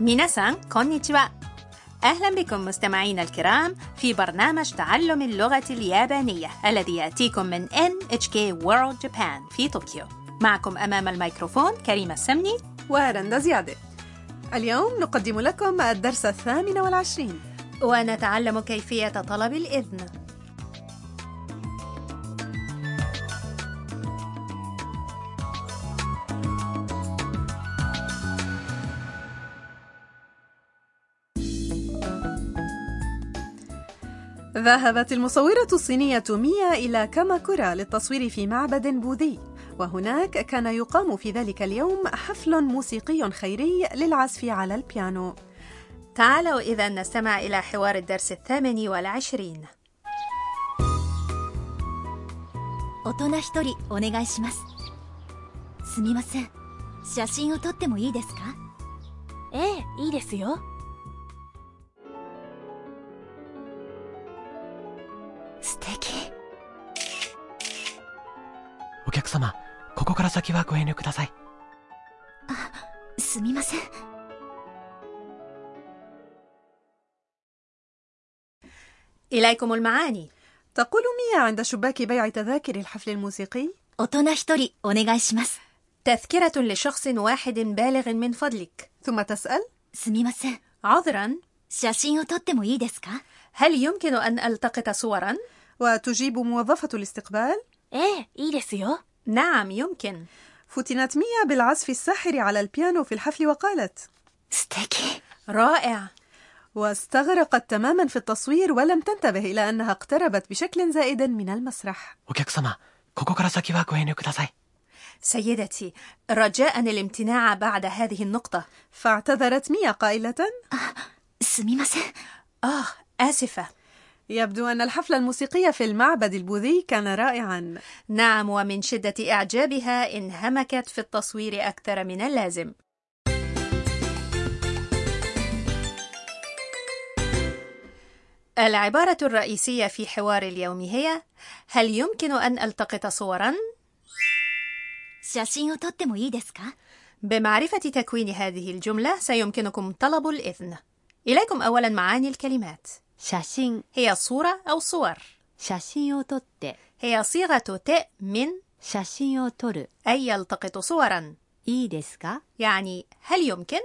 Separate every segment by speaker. Speaker 1: ميناسان كونيتشوا أهلا بكم مستمعينا الكرام في برنامج تعلم اللغة اليابانية الذي يأتيكم من NHK World Japan في طوكيو معكم أمام الميكروفون كريمة السمني
Speaker 2: ورندا زيادة اليوم نقدم لكم الدرس الثامن والعشرين
Speaker 1: ونتعلم كيفية طلب الإذن
Speaker 2: ذهبت المصورة الصينية ميا إلى كاماكورا للتصوير في معبد بوذي وهناك كان يقام في ذلك اليوم حفل موسيقي خيري للعزف على البيانو
Speaker 1: تعالوا إذا نستمع إلى حوار الدرس الثامن والعشرين
Speaker 3: 大人一人お願いしますすみません写真を撮ってもいいですかええいいですよ素敵
Speaker 4: お客様、ここから先はご遠慮ください。
Speaker 3: すみません
Speaker 1: إليكم المعاني
Speaker 2: تقول ميا عند شباك بيع تذاكر الحفل الموسيقي
Speaker 3: 大人一人お願いします
Speaker 1: تذكرة لشخص واحد بالغ من فضلك
Speaker 2: ثم تسأل
Speaker 3: すみません
Speaker 1: عذرا
Speaker 3: 写真を撮ってもいいですか
Speaker 1: هل يمكن أن ألتقط صورا؟
Speaker 2: وتجيب موظفة الاستقبال
Speaker 3: ええいいですよ
Speaker 1: نعم يمكن
Speaker 2: فتنت ميا بالعزف الساحر على البيانو في الحفل وقالت
Speaker 3: 素敵
Speaker 1: رائع
Speaker 2: واستغرقت تماما في التصوير ولم تنتبه إلى أنها اقتربت بشكل زائد من المسرح
Speaker 4: お客様、ここから先はご遠慮ください。
Speaker 1: سيدتي رجاء الامتناع بعد هذه النقطة
Speaker 2: فاعتذرت ميا قائلة
Speaker 3: すみません
Speaker 1: آه آسفة
Speaker 2: يبدو أن الحفل الموسيقي في المعبد البوذي كان رائعا
Speaker 1: نعم ومن شدة إعجابها انهمكت في التصوير أكثر من اللازم العبارة الرئيسية في حوار اليوم هي هل يمكن أن ألتقط صورا؟
Speaker 3: 写真を撮ってもいいですか
Speaker 1: بمعرفة تكوين هذه الجملة سيمكنكم طلب الإذن إليكم أولا معاني الكلمات
Speaker 5: 写真
Speaker 1: هي صورة أو صور
Speaker 5: 写真を撮って
Speaker 1: هي صيغة ت من
Speaker 5: 写真を撮る
Speaker 1: أي يلتقط صورا
Speaker 5: いいですか
Speaker 1: يعني هل يمكن؟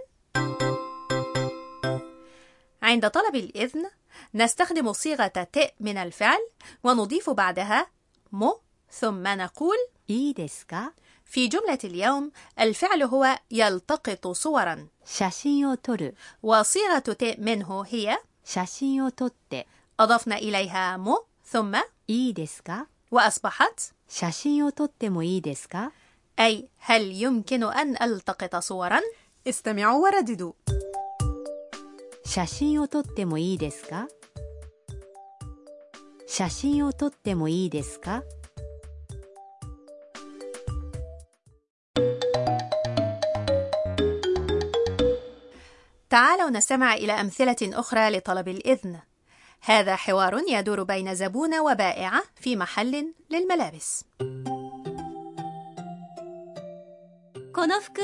Speaker 1: عند طلب الإذن نستخدم صيغة ت من الفعل ونضيف بعدها مو ثم نقول
Speaker 5: いいですか
Speaker 1: في جملة اليوم الفعل هو يلتقط صورا
Speaker 5: 写真を撮る
Speaker 1: وصيغة ت منه هي
Speaker 5: 写真を撮って
Speaker 1: أضفنا إليها مو ثم
Speaker 5: いいですか
Speaker 1: وأصبحت
Speaker 5: 写真を撮ってもいいですか
Speaker 1: أي هل يمكن أن ألتقط صورا؟
Speaker 2: استمعوا ورددوا
Speaker 5: 写真を撮ってもいいですか写真を撮ってもいいですか
Speaker 1: تعالوا نستمع إلى أمثلة أخرى لطلب الإذن. هذا حوار يدور بين زبون وبائعة في محل للملابس.
Speaker 3: この服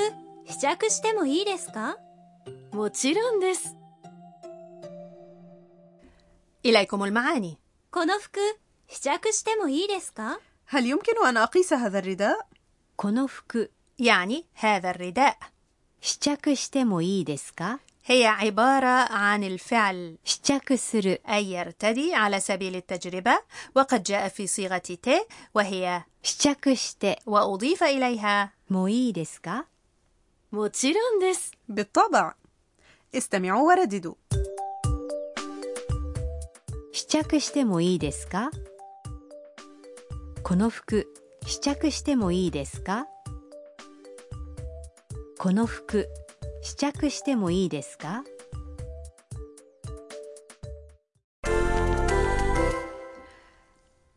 Speaker 3: 試着してもいいですかもちろんです
Speaker 1: إليكم المعاني.
Speaker 3: この服試着してもいいですか
Speaker 2: هل يمكن أن أقيس هذا الرداء؟
Speaker 5: この服
Speaker 1: يعني هذا الرداء
Speaker 5: 試着してもいいですか
Speaker 1: هي عبارة عن الفعل
Speaker 5: 試着する
Speaker 1: أي يرتدي على سبيل التجربة وقد جاء في صيغة ت وهي
Speaker 5: 試着して
Speaker 1: وأضيف إليها
Speaker 5: もいいですか
Speaker 3: もちろんです
Speaker 2: بالطبع استمعوا ورددوا
Speaker 5: 試着してもいいですかこの服試着してもいいですかこの服試着してもいいですか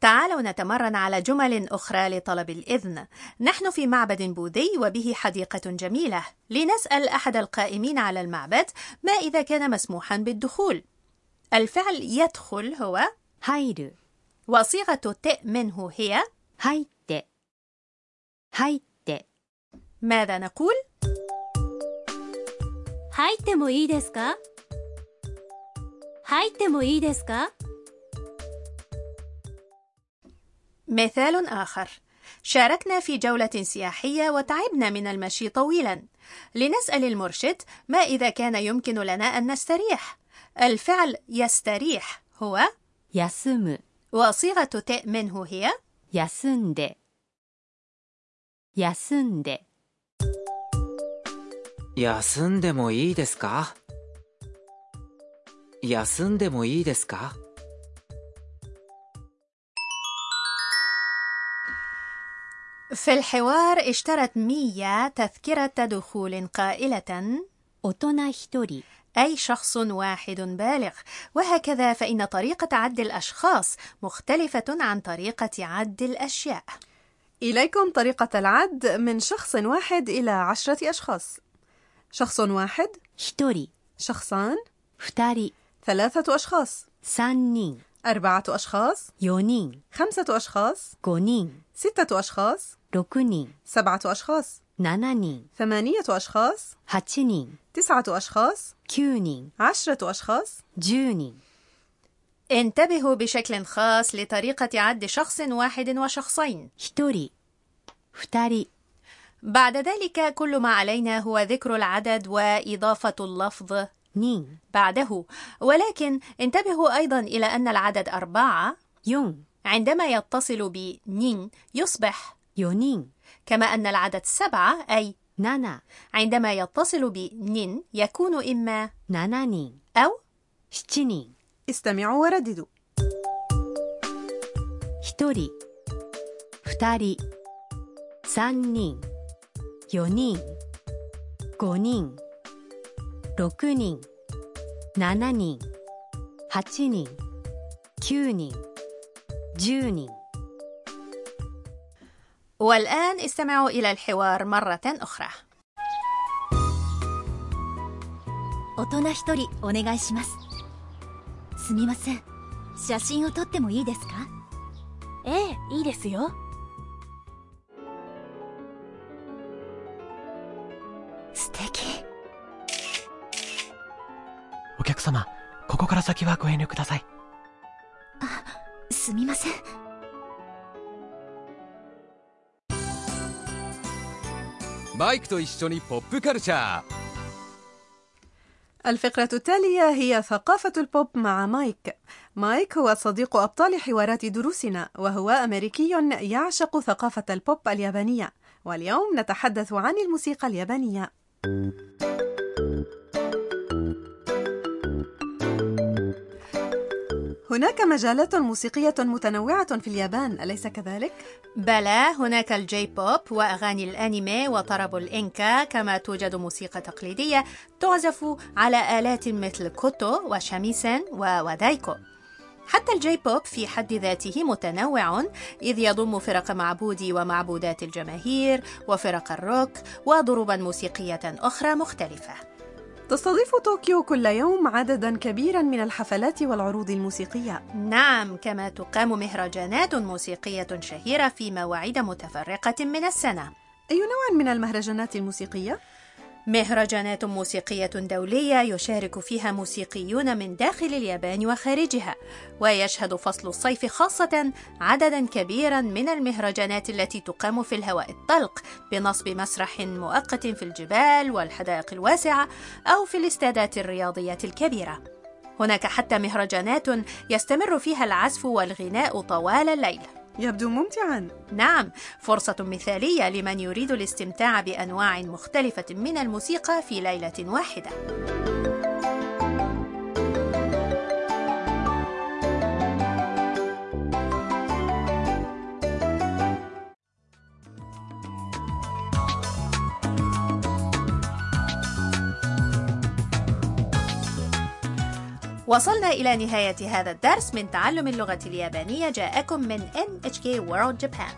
Speaker 1: تعالوا نتمرن على جمل أخرى لطلب الإذن. نحن في معبد بوذي وبه حديقة جميلة. لنسأل أحد القائمين على المعبد ما إذا كان مسموحا بالدخول. الفعل يدخل هو
Speaker 5: 入る
Speaker 1: وصيغة ت منه هي
Speaker 5: 入って入って
Speaker 1: ماذا نقول؟
Speaker 3: 入ってもいいですか入ってもいいですか
Speaker 1: مثال آخر شاركنا في جولة سياحية وتعبنا من المشي طويلا لنسأل المرشد ما إذا كان يمكن لنا أن نستريح الفعل يستريح هو
Speaker 5: 休む
Speaker 1: وصيغة ت منه هي
Speaker 5: 休んで休んで
Speaker 6: 休んでもいいですか休んでもいいですか
Speaker 1: في الحوار اشترت ميا تذكرة دخول قائلة
Speaker 5: 大人一人
Speaker 1: أي شخص واحد بالغ وهكذا فإن طريقة عد الأشخاص مختلفة عن طريقة عد الأشياء
Speaker 2: إليكم طريقة العد من شخص واحد إلى عشرة أشخاص شخص واحد
Speaker 5: 一人
Speaker 2: شخصان
Speaker 5: 二人
Speaker 2: ثلاثة أشخاص
Speaker 5: 三人
Speaker 2: أربعة أشخاص
Speaker 5: 四人
Speaker 2: خمسة أشخاص
Speaker 5: 五人
Speaker 2: ستة أشخاص
Speaker 5: 六人
Speaker 2: سبعة أشخاص
Speaker 5: 七人
Speaker 2: ثمانية أشخاص
Speaker 5: 八人
Speaker 2: تسعة أشخاص
Speaker 5: 九人
Speaker 2: عشرة أشخاص
Speaker 5: 十人
Speaker 1: انتبهوا بشكل خاص لطريقة عد شخص واحد وشخصين
Speaker 5: 一人二人
Speaker 1: بعد ذلك كل ما علينا هو ذكر العدد وإضافة اللفظ
Speaker 5: 人
Speaker 1: بعده ولكن انتبهوا أيضا إلى أن العدد أربعة
Speaker 5: 四
Speaker 1: عندما يتصل ب نين يصبح
Speaker 5: 四人
Speaker 1: كما أن العدد سبعة أي
Speaker 5: 七
Speaker 1: عندما يتصل ب نين يكون إما
Speaker 5: 七人
Speaker 1: أو
Speaker 5: 七人
Speaker 2: استمعوا ورددوا
Speaker 5: 一人二人三人四人五人六人七人八人九人十人
Speaker 1: والآن استمعوا إلى الحوار مرة أخرى
Speaker 3: 大人一人お願いしますすみません写真を撮ってもいいですかええいいですよ素敵
Speaker 4: お客様、ここから先はご遠慮ください。
Speaker 3: すみません
Speaker 7: マイクと一緒にポップカルチャー
Speaker 2: الفقرة التالية هي ثقافة البوب مع مايك. مايك هو صديق أبطال حوارات دروسنا، وهو أمريكي يعشق ثقافة البوب اليابانية. واليوم نتحدث عن الموسيقى اليابانية. هناك مجالات موسيقية متنوعة في اليابان، أليس كذلك؟
Speaker 1: بلى هناك الجي بوب وأغاني الأنمي وطرب الإنكا كما توجد موسيقى تقليدية تعزف على آلات مثل كوتو وشاميسن وودايكو حتى الجي بوب في حد ذاته متنوع إذ يضم فرق معبودي ومعبودات الجماهير وفرق الروك وضروبا موسيقية أخرى مختلفة
Speaker 2: تستضيف طوكيو كل يوم عددا كبيرا من الحفلات والعروض الموسيقية.
Speaker 1: نعم كما تقام مهرجانات موسيقية شهيرة في مواعيد متفرقة من السنة
Speaker 2: أي نوع من المهرجانات الموسيقية؟
Speaker 1: مهرجانات موسيقية دولية يشارك فيها موسيقيون من داخل اليابان وخارجها، ويشهد فصل الصيف خاصة عددا كبيرا من المهرجانات التي تقام في الهواء الطلق بنصب مسرح مؤقت في الجبال والحدائق الواسعة أو في الاستادات الرياضية الكبيرة. هناك حتى مهرجانات يستمر فيها العزف والغناء طوال الليل.
Speaker 2: يبدو ممتعا.
Speaker 1: نعم فرصة مثالية لمن يريد الاستمتاع بأنواع مختلفة من الموسيقى في ليلة واحدة وصلنا إلى نهاية هذا الدرس من تعلم اللغة اليابانية جاءكم من NHK World Japan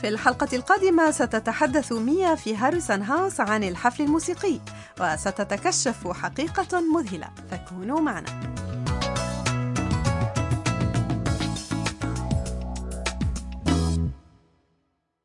Speaker 2: في الحلقة القادمة ستتحدث ميا في هاريسون هاوس عن الحفل الموسيقي وستتكشف حقيقة مذهلة فكونوا معنا